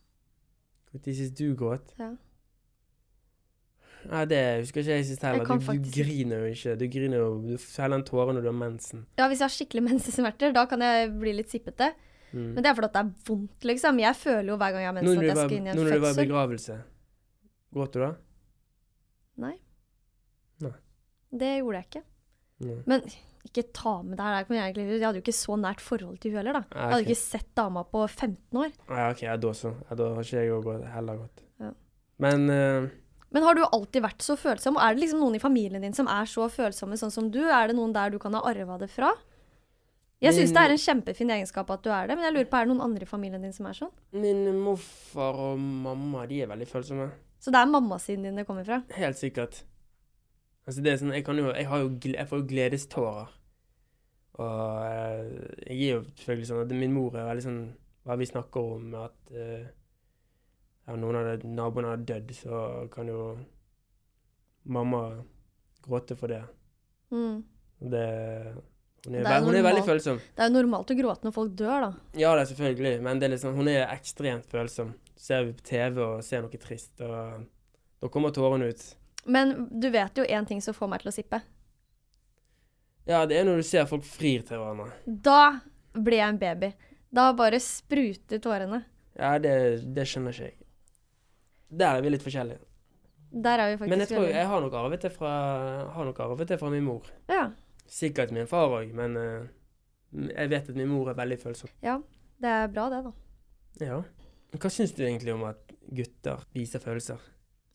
[SPEAKER 2] Når sist du gråt?
[SPEAKER 1] Ja.
[SPEAKER 2] Nei, det husker ikke jeg sist heller.
[SPEAKER 1] Jeg kan
[SPEAKER 2] Du, du
[SPEAKER 1] faktisk ikke.
[SPEAKER 2] griner jo ikke. Du griner jo, du feller en tåre når du har mensen.
[SPEAKER 1] Ja, Hvis jeg har skikkelig mensesmerter, da kan jeg bli litt sippete.
[SPEAKER 2] Mm.
[SPEAKER 1] Men det er fordi at det er vondt, liksom. Jeg føler jo hver gang jeg har mens
[SPEAKER 2] Nå når
[SPEAKER 1] at
[SPEAKER 2] du
[SPEAKER 1] jeg
[SPEAKER 2] var-
[SPEAKER 1] skal inn i en
[SPEAKER 2] nå når du var i
[SPEAKER 1] fødsel.
[SPEAKER 2] begravelse, gråt du da?
[SPEAKER 1] Nei.
[SPEAKER 2] Nei.
[SPEAKER 1] Det gjorde jeg ikke.
[SPEAKER 2] Nei.
[SPEAKER 1] Men ikke ta med det her. det her kommer Jeg egentlig- jeg hadde jo ikke så nært forhold til hun heller, da.
[SPEAKER 2] Ah,
[SPEAKER 1] Jeg hadde
[SPEAKER 2] ok.
[SPEAKER 1] ikke sett dama på 15 år.
[SPEAKER 2] Ah, Ja, ok, ja, da så. Ja, da har ikke jeg òg heller gått.
[SPEAKER 1] Ja.
[SPEAKER 2] Men eh,
[SPEAKER 1] Men har du alltid vært så følsom? Og er det liksom noen i familien din som er så følsomme sånn som du? Er det noen der du kan ha arva det fra? Jeg syns det
[SPEAKER 2] Min-
[SPEAKER 1] er en kjempefin egenskap at du er det, men jeg lurer på, er det noen andre i familien din som er sånn?
[SPEAKER 2] min morfar og mamma de er veldig følsomme.
[SPEAKER 1] Så det er mammasiden din det kommer fra?
[SPEAKER 2] Helt sikkert. Altså, det er sånn, jeg, kan jo, jeg, har jo, gle- jeg får jo gledestårer. Og eh, jeg er jo selvfølgelig sånn at min mor er veldig sånn Hva vi snakker om, at eh, ja, noen av de- naboene har dødd, så kan jo mamma gråte for det.
[SPEAKER 1] Mm.
[SPEAKER 2] det hun, er,
[SPEAKER 1] Det er
[SPEAKER 2] ve- hun er veldig
[SPEAKER 1] normalt.
[SPEAKER 2] følsom.
[SPEAKER 1] Det er jo normalt å gråte når folk dør, da.
[SPEAKER 2] Ja, det er selvfølgelig, men det er liksom, hun er ekstremt følsom. Ser vi på TV og ser noe trist, og da kommer tårene ut.
[SPEAKER 1] Men du vet jo én ting som får meg til å sippe.
[SPEAKER 2] Ja, det er når du ser folk frir til hverandre.
[SPEAKER 1] Da ble jeg en baby. Da bare spruter tårene.
[SPEAKER 2] Ja, det, det skjønner ikke jeg. Der er vi litt forskjellige.
[SPEAKER 1] Der er vi faktisk
[SPEAKER 2] Men jeg tror
[SPEAKER 1] veldig-
[SPEAKER 2] jeg har nok arvet det fra, har nok arvet det fra min mor.
[SPEAKER 1] Ja.
[SPEAKER 2] Sikkert min far òg, men eh, jeg vet at min mor er veldig følsom.
[SPEAKER 1] ja. Det er bra, det, da.
[SPEAKER 2] Ja. Hva syns du egentlig om at gutter viser følelser?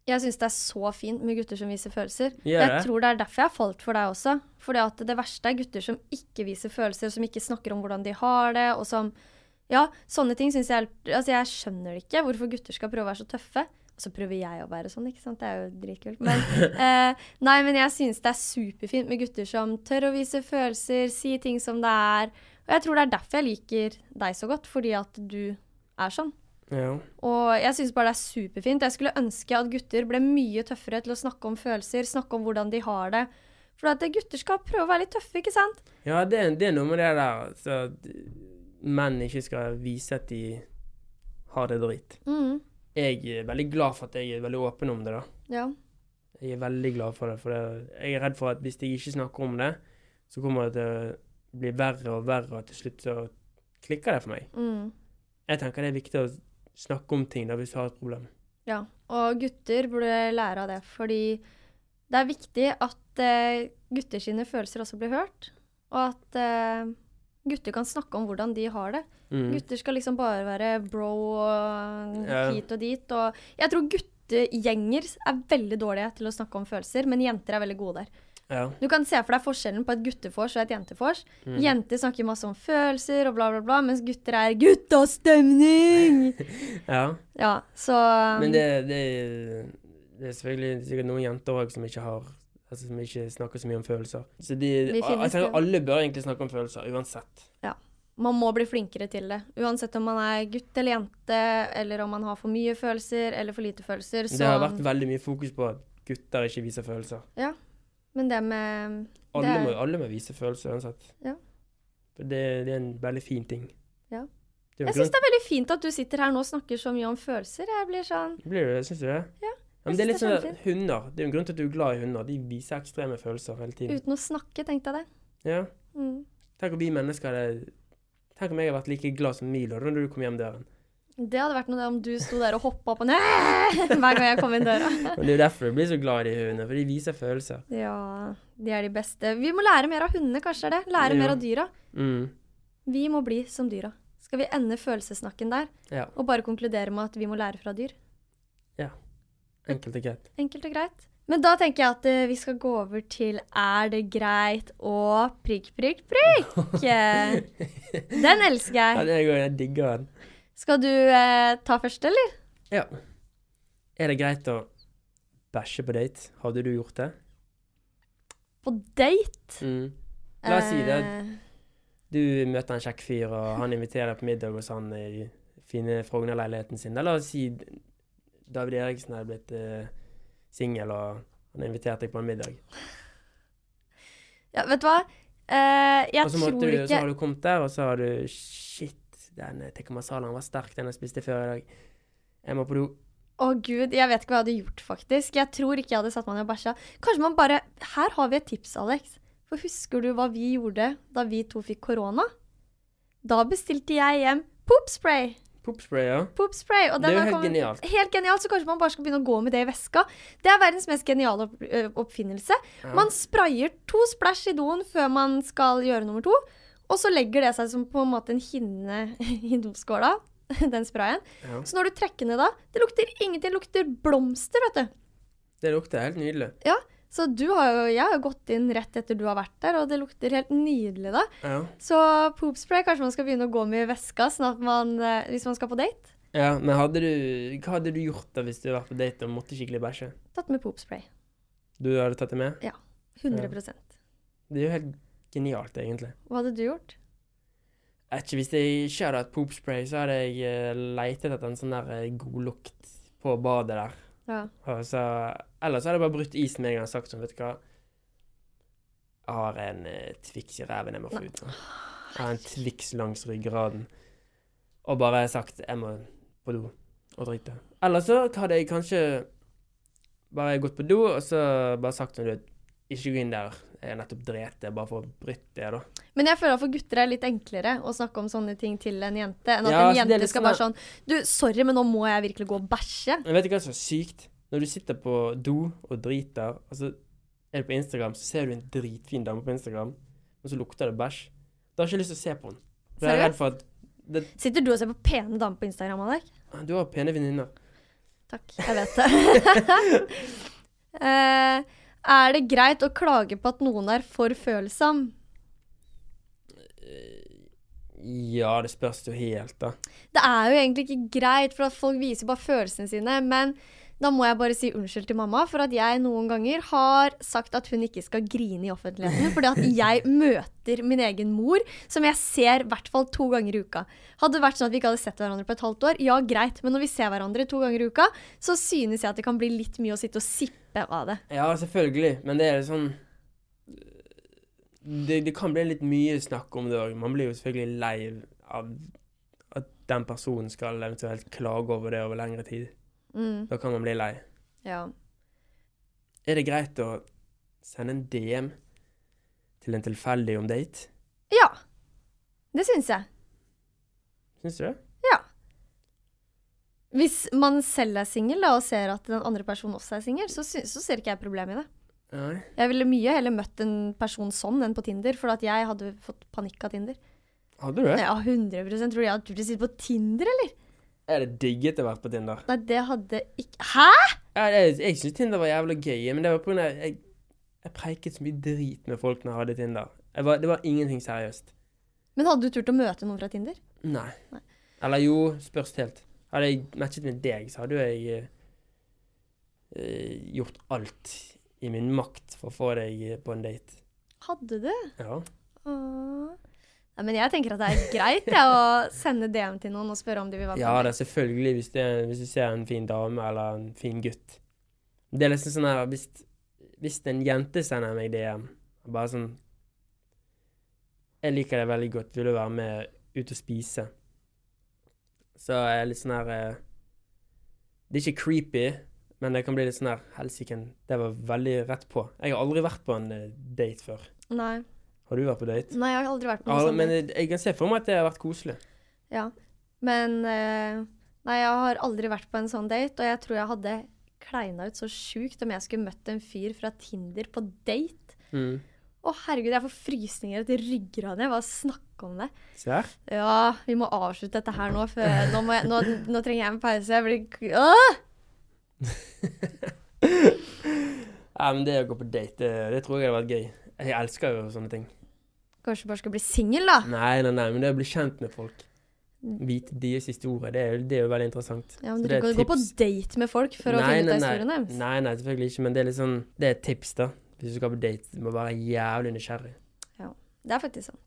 [SPEAKER 1] Jeg syns det er så fint med gutter som viser følelser.
[SPEAKER 2] Gjør
[SPEAKER 1] jeg
[SPEAKER 2] det?
[SPEAKER 1] tror det er derfor jeg falt for deg også. Fordi at det verste er gutter som ikke viser følelser, som ikke snakker om hvordan de har det, og som Ja, sånne ting syns jeg er- Altså, jeg skjønner det ikke, hvorfor gutter skal prøve å være så tøffe. Så prøver jeg å være sånn, ikke sant. Det er jo dritkult. Men eh, Nei, men jeg syns det er superfint med gutter som tør å vise følelser, si ting som det er. Og jeg tror det er derfor jeg liker deg så godt, fordi at du er sånn.
[SPEAKER 2] Ja.
[SPEAKER 1] Og jeg syns bare det er superfint. Jeg skulle ønske at gutter ble mye tøffere til å snakke om følelser, snakke om hvordan de har det. For at gutter skal prøve å være litt tøffe, ikke sant?
[SPEAKER 2] Ja, det, er- det er noe med det der altså, at menn ikke skal vise at de har det dritt.
[SPEAKER 1] Mm,
[SPEAKER 2] Jeg er veldig glad for at jeg er veldig åpen om det, da.
[SPEAKER 1] ja.
[SPEAKER 2] Jeg er veldig glad for det, for det, jeg er redd for at hvis jeg ikke snakker om det, så kommer det til å bli verre og verre, og til slutt så klikker det for meg.
[SPEAKER 1] Mm,
[SPEAKER 2] Jeg tenker det er viktig å snakke om ting da hvis du har et problem.
[SPEAKER 1] ja. Og gutter burde lære av det, fordi det er viktig at eh, gutter sine følelser også blir hørt. Og at eh, gutter kan snakke om hvordan de har det.
[SPEAKER 2] Mm.
[SPEAKER 1] Gutter skal liksom bare være bro og
[SPEAKER 2] Ja.
[SPEAKER 1] hit og dit. Og jeg tror guttegjenger er veldig dårlige til å snakke om følelser, men jenter er veldig gode der.
[SPEAKER 2] Ja.
[SPEAKER 1] Du kan se for deg forskjellen på et guttefors og et jentefors.
[SPEAKER 2] Mm.
[SPEAKER 1] Jenter snakker masse om følelser og bla, bla, bla, mens gutter er guttastemning!
[SPEAKER 2] ja.
[SPEAKER 1] ja, så
[SPEAKER 2] Men
[SPEAKER 1] Um,
[SPEAKER 2] det, det, det er selvfølgelig sikkert noen jenter òg som ikke har Altså som ikke snakker så mye om følelser. Så de,
[SPEAKER 1] Vi
[SPEAKER 2] jeg
[SPEAKER 1] finnes
[SPEAKER 2] tenker
[SPEAKER 1] jo.
[SPEAKER 2] alle bør egentlig snakke om følelser, uansett.
[SPEAKER 1] Man må bli flinkere til det. Uansett om man er gutt eller jente, eller om man har for mye følelser eller for lite følelser. Så,
[SPEAKER 2] Det har vært veldig mye fokus på at gutter ikke viser følelser.
[SPEAKER 1] Ja. Men det med
[SPEAKER 2] Alle,
[SPEAKER 1] det er-
[SPEAKER 2] må, alle må vise følelser uansett.
[SPEAKER 1] Ja.
[SPEAKER 2] For det, det er en veldig fin ting.
[SPEAKER 1] Ja.
[SPEAKER 2] Det er jo
[SPEAKER 1] Jeg syns
[SPEAKER 2] grunn-
[SPEAKER 1] det er veldig fint at du sitter her nå og snakker så mye om følelser. Jeg blir sånn
[SPEAKER 2] Blir det, syns du det?
[SPEAKER 1] Ja,
[SPEAKER 2] Ja, men det er litt
[SPEAKER 1] synes det
[SPEAKER 2] sånn
[SPEAKER 1] er
[SPEAKER 2] at hunder. Det er jo en grunn til at du er glad i hunder. De viser ekstreme følelser hele tiden.
[SPEAKER 1] uten å snakke, tenkte jeg det.
[SPEAKER 2] Ja.
[SPEAKER 1] Mm.
[SPEAKER 2] Tenk om vi mennesker hadde Tenk om jeg hadde vært like glad som Milo da når du kom hjem døren.
[SPEAKER 1] Det hadde vært noe der om du sto der og hoppa opp og ned hver gang jeg kom inn døra.
[SPEAKER 2] Og Det er jo derfor jeg blir så glad i de hundene, for de viser følelser.
[SPEAKER 1] Ja, de er de beste. Vi må lære mer av hundene, kanskje er det? Lære
[SPEAKER 2] Ja.
[SPEAKER 1] mer av dyra.
[SPEAKER 2] Mm.
[SPEAKER 1] Vi må bli som dyra. Skal vi ende følelsessnakken der,
[SPEAKER 2] Ja.
[SPEAKER 1] og bare konkludere med at vi må lære fra dyr?
[SPEAKER 2] ja. Enkelt og greit.
[SPEAKER 1] Enkelt og greit. Men da tenker jeg at eh, vi skal gå over til Er det greit og prikk, prikk, prikk. Den elsker
[SPEAKER 2] Ja,
[SPEAKER 1] jeg.
[SPEAKER 2] det er jo- jeg digger den.
[SPEAKER 1] Skal du eh, ta først, eller?
[SPEAKER 2] Ja. Er det greit å bæsje på date? Hadde du gjort det?
[SPEAKER 1] På date?
[SPEAKER 2] Mm. La oss si det.
[SPEAKER 1] Eh,
[SPEAKER 2] Du møter en kjekk fyr, og han inviterer deg på middag hos han i fine Frogner-leiligheten sin. Eller la oss si David Eriksen er blitt eh, singel, og han har invitert deg på en middag.
[SPEAKER 1] Ja, vet du hva? Eh, jeg
[SPEAKER 2] Og så, måtte
[SPEAKER 1] tror
[SPEAKER 2] du, sånn så
[SPEAKER 1] ikke
[SPEAKER 2] har du kommet der, og så har du Shit, den eh, tikka masalaen var sterk, den jeg spiste før i dag. Jeg må på do.
[SPEAKER 1] Å gud, jeg vet ikke hva jeg hadde gjort, faktisk. Jeg tror ikke jeg hadde satt meg ned og bæsja. Kanskje man bare Her har vi et tips, Alex. For husker du hva vi gjorde da vi to fikk korona? Da bestilte jeg hjem poopspray.
[SPEAKER 2] Popspray, ja.
[SPEAKER 1] Poopspray. Og
[SPEAKER 2] Det er
[SPEAKER 1] den
[SPEAKER 2] jo
[SPEAKER 1] har
[SPEAKER 2] helt
[SPEAKER 1] kommet-
[SPEAKER 2] genialt.
[SPEAKER 1] Helt genialt, så kanskje man bare skal begynne å gå med det i veska. Det er verdens mest geniale opp ø, oppfinnelse. Man sprayer to splæsj i doen før man skal gjøre nummer to, og så legger det seg som på en måte en hinne i doskåla, den sprayen.
[SPEAKER 2] Ja.
[SPEAKER 1] Så når du trekker ned da, det lukter ingenting, det lukter blomster, vet du.
[SPEAKER 2] Det lukter helt nydelig.
[SPEAKER 1] Ja, så du har jo, jeg har jo gått inn rett etter du har vært der, og det lukter helt nydelig da.
[SPEAKER 2] Ja.
[SPEAKER 1] Så poopspray, kanskje man skal begynne å gå med i veska sånn at man, ø, hvis man skal på date,
[SPEAKER 2] ja, Men hadde du, hva hadde du gjort da hvis du hadde vært på date og måtte skikkelig bæsje?
[SPEAKER 1] tatt med poopspray.
[SPEAKER 2] Du hadde tatt det med?
[SPEAKER 1] Ja, 100
[SPEAKER 2] Det er jo helt genialt, egentlig.
[SPEAKER 1] Hva hadde du gjort?
[SPEAKER 2] Jeg vet ikke, Hvis jeg ikke hadde hatt poopspray, så hadde jeg eh, leitet etter en sånn der eh, godlukt på badet der.
[SPEAKER 1] Ja.
[SPEAKER 2] Og så, ellers hadde jeg bare brutt isen med en gang og sagt sånn, vet du hva Jeg har en eh, Twix i ræven jeg må få ut nå. Jeg har en Twix langs ryggraden. Og bare sagt jeg må på do og drite. Eller så hadde jeg kanskje bare gått på do og så bare sagt sånn, du vet, ikke gå inn der. Jeg har nettopp drept det, bare for å bryte det, da.
[SPEAKER 1] Men jeg føler at for gutter er det litt enklere å snakke om sånne ting til en jente, enn at
[SPEAKER 2] Ja, så
[SPEAKER 1] en
[SPEAKER 2] det er
[SPEAKER 1] jente
[SPEAKER 2] litt
[SPEAKER 1] skal
[SPEAKER 2] sånn
[SPEAKER 1] bare sånn Du, sorry, men nå må jeg virkelig gå og bæsje.
[SPEAKER 2] Men vet du hva som er sykt? Når du sitter på do og driter, og så er du på Instagram, så ser du en dritfin dame på Instagram, og så lukter det bæsj. Da har jeg ikke lyst til å se på henne. For jeg er redd
[SPEAKER 1] Seriøst?
[SPEAKER 2] for at det,
[SPEAKER 1] Sitter du og ser på pene damer på Instagram, Alek?
[SPEAKER 2] Du har pene venninner.
[SPEAKER 1] Takk, jeg vet det. Eh, er det greit å klage på at noen er for følsom?
[SPEAKER 2] Ja, det spørs jo helt, da.
[SPEAKER 1] Det er jo egentlig ikke greit, for at folk viser bare følelsene sine. Men da må jeg bare si unnskyld til mamma for at jeg noen ganger har sagt at hun ikke skal grine i offentligheten. Fordi at jeg møter min egen mor, som jeg ser i hvert fall to ganger i uka. Hadde det vært sånn at vi ikke hadde sett hverandre på et halvt år, ja greit. Men når vi ser hverandre to ganger i uka, så synes jeg at det kan bli litt mye å sitte og sippe av det.
[SPEAKER 2] Ja, selvfølgelig, men det er sånn Det, det kan bli litt mye snakk om det òg. Man blir jo selvfølgelig lei av at den personen skal eventuelt klage over det over lengre tid.
[SPEAKER 1] Mm,
[SPEAKER 2] Da kan man bli lei.
[SPEAKER 1] ja.
[SPEAKER 2] Er det greit å sende en DM til en tilfeldig om date?
[SPEAKER 1] ja. Det syns jeg.
[SPEAKER 2] Syns du det?
[SPEAKER 1] Ja. Hvis man selv er singel da, og ser at den andre personen også er singel, så, sy- så ser ikke jeg problemet i det.
[SPEAKER 2] Nei.
[SPEAKER 1] Jeg ville mye heller møtt en person sånn enn på Tinder, for at jeg hadde fått panikk av Tinder.
[SPEAKER 2] Hadde du det?
[SPEAKER 1] Ja, 100 Tror du jeg hadde turt å sitte på Tinder, eller?
[SPEAKER 2] Er det digget å være på Tinder?
[SPEAKER 1] Nei, det hadde ikke Hæ?!
[SPEAKER 2] Jeg, jeg, jeg syns Tinder var jævla gøy, men det var på grunn av jeg, jeg preiket så mye drit med folk når jeg hadde Tinder. Jeg var, det var ingenting seriøst.
[SPEAKER 1] Men hadde du turt å møte noen fra Tinder?
[SPEAKER 2] Nei. Eller jo, spørs helt. Hadde jeg matchet med deg, så hadde jo jeg eh, eh, gjort alt i min makt for å få deg eh, på en date.
[SPEAKER 1] Hadde du?
[SPEAKER 2] Ja.
[SPEAKER 1] Åh. Nei, men jeg tenker at det er greit jeg, å sende DM til noen og spørre om de vil være
[SPEAKER 2] Ja,
[SPEAKER 1] med.
[SPEAKER 2] det er selvfølgelig hvis, det er, hvis du ser en fin dame eller en fin gutt. Det er liksom sånn her Hvis, hvis en jente sender meg DM, bare sånn Jeg liker deg veldig godt, vil du være med ut og spise? Så er jeg litt sånn her eh, Det er ikke creepy, men det kan bli litt sånn her Helsike, det var veldig rett på. Jeg har aldri vært på en eh, date før.
[SPEAKER 1] Nei.
[SPEAKER 2] Har du vært på date?
[SPEAKER 1] Nei, jeg har aldri vært sånn på
[SPEAKER 2] Ja,
[SPEAKER 1] noe
[SPEAKER 2] men
[SPEAKER 1] sånt.
[SPEAKER 2] jeg jeg kan se for meg at det har vært koselig.
[SPEAKER 1] Ja. Men eh, Nei, jeg har aldri vært på en sånn date, og jeg tror jeg hadde kleina ut så sjukt om jeg skulle møtt en fyr fra Tinder på date.
[SPEAKER 2] Mm.
[SPEAKER 1] Å, herregud, jeg får frysninger etter ryggraden. Jeg bare snakker om det.
[SPEAKER 2] Se her.
[SPEAKER 1] Ja, vi må avslutte dette her nå, for nå, må jeg, nå, nå trenger jeg en pause. Jeg blir Åh!
[SPEAKER 2] Ja, men det å gå på date, det, det tror jeg hadde vært gøy. Jeg elsker jo sånne ting.
[SPEAKER 1] Kanskje du bare skal bli singel, da?
[SPEAKER 2] Nei, nei, nei, men det å bli kjent med folk. Vite deres historie, det er, jo- det er jo veldig interessant.
[SPEAKER 1] Mm.
[SPEAKER 2] Så
[SPEAKER 1] Ja, men Du
[SPEAKER 2] det er
[SPEAKER 1] kan
[SPEAKER 2] et
[SPEAKER 1] gå på
[SPEAKER 2] tips.
[SPEAKER 1] date med folk for å finne ut av historien
[SPEAKER 2] nei.
[SPEAKER 1] deres.
[SPEAKER 2] Nei, nei, selvfølgelig ikke, men det er litt sånn Det er et tips, da. Hvis du skal på date, du må være jævlig nysgjerrig.
[SPEAKER 1] Det er faktisk sant.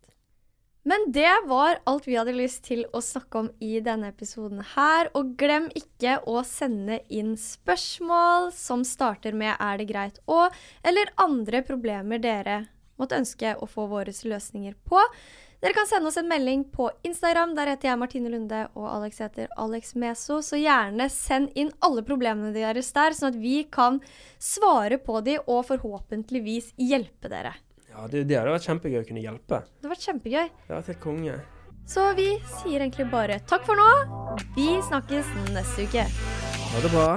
[SPEAKER 1] Men det var alt vi hadde lyst til å snakke om i denne episoden her. Og glem ikke å sende inn spørsmål som starter med 'er det greit å', eller andre problemer dere måtte ønske å få våre løsninger på. Dere kan sende oss en melding på Instagram. Der heter jeg Martine Lunde, og Alex heter Alex Meso. Så gjerne send inn alle problemene deres der, sånn at vi kan svare på de og forhåpentligvis hjelpe dere.
[SPEAKER 2] Ja, det, det hadde vært kjempegøy å kunne hjelpe.
[SPEAKER 1] Det har vært kjempegøy.
[SPEAKER 2] Det hadde vært helt konge.
[SPEAKER 1] Så vi sier egentlig bare takk for nå. Vi snakkes neste uke.
[SPEAKER 2] Ha det bra.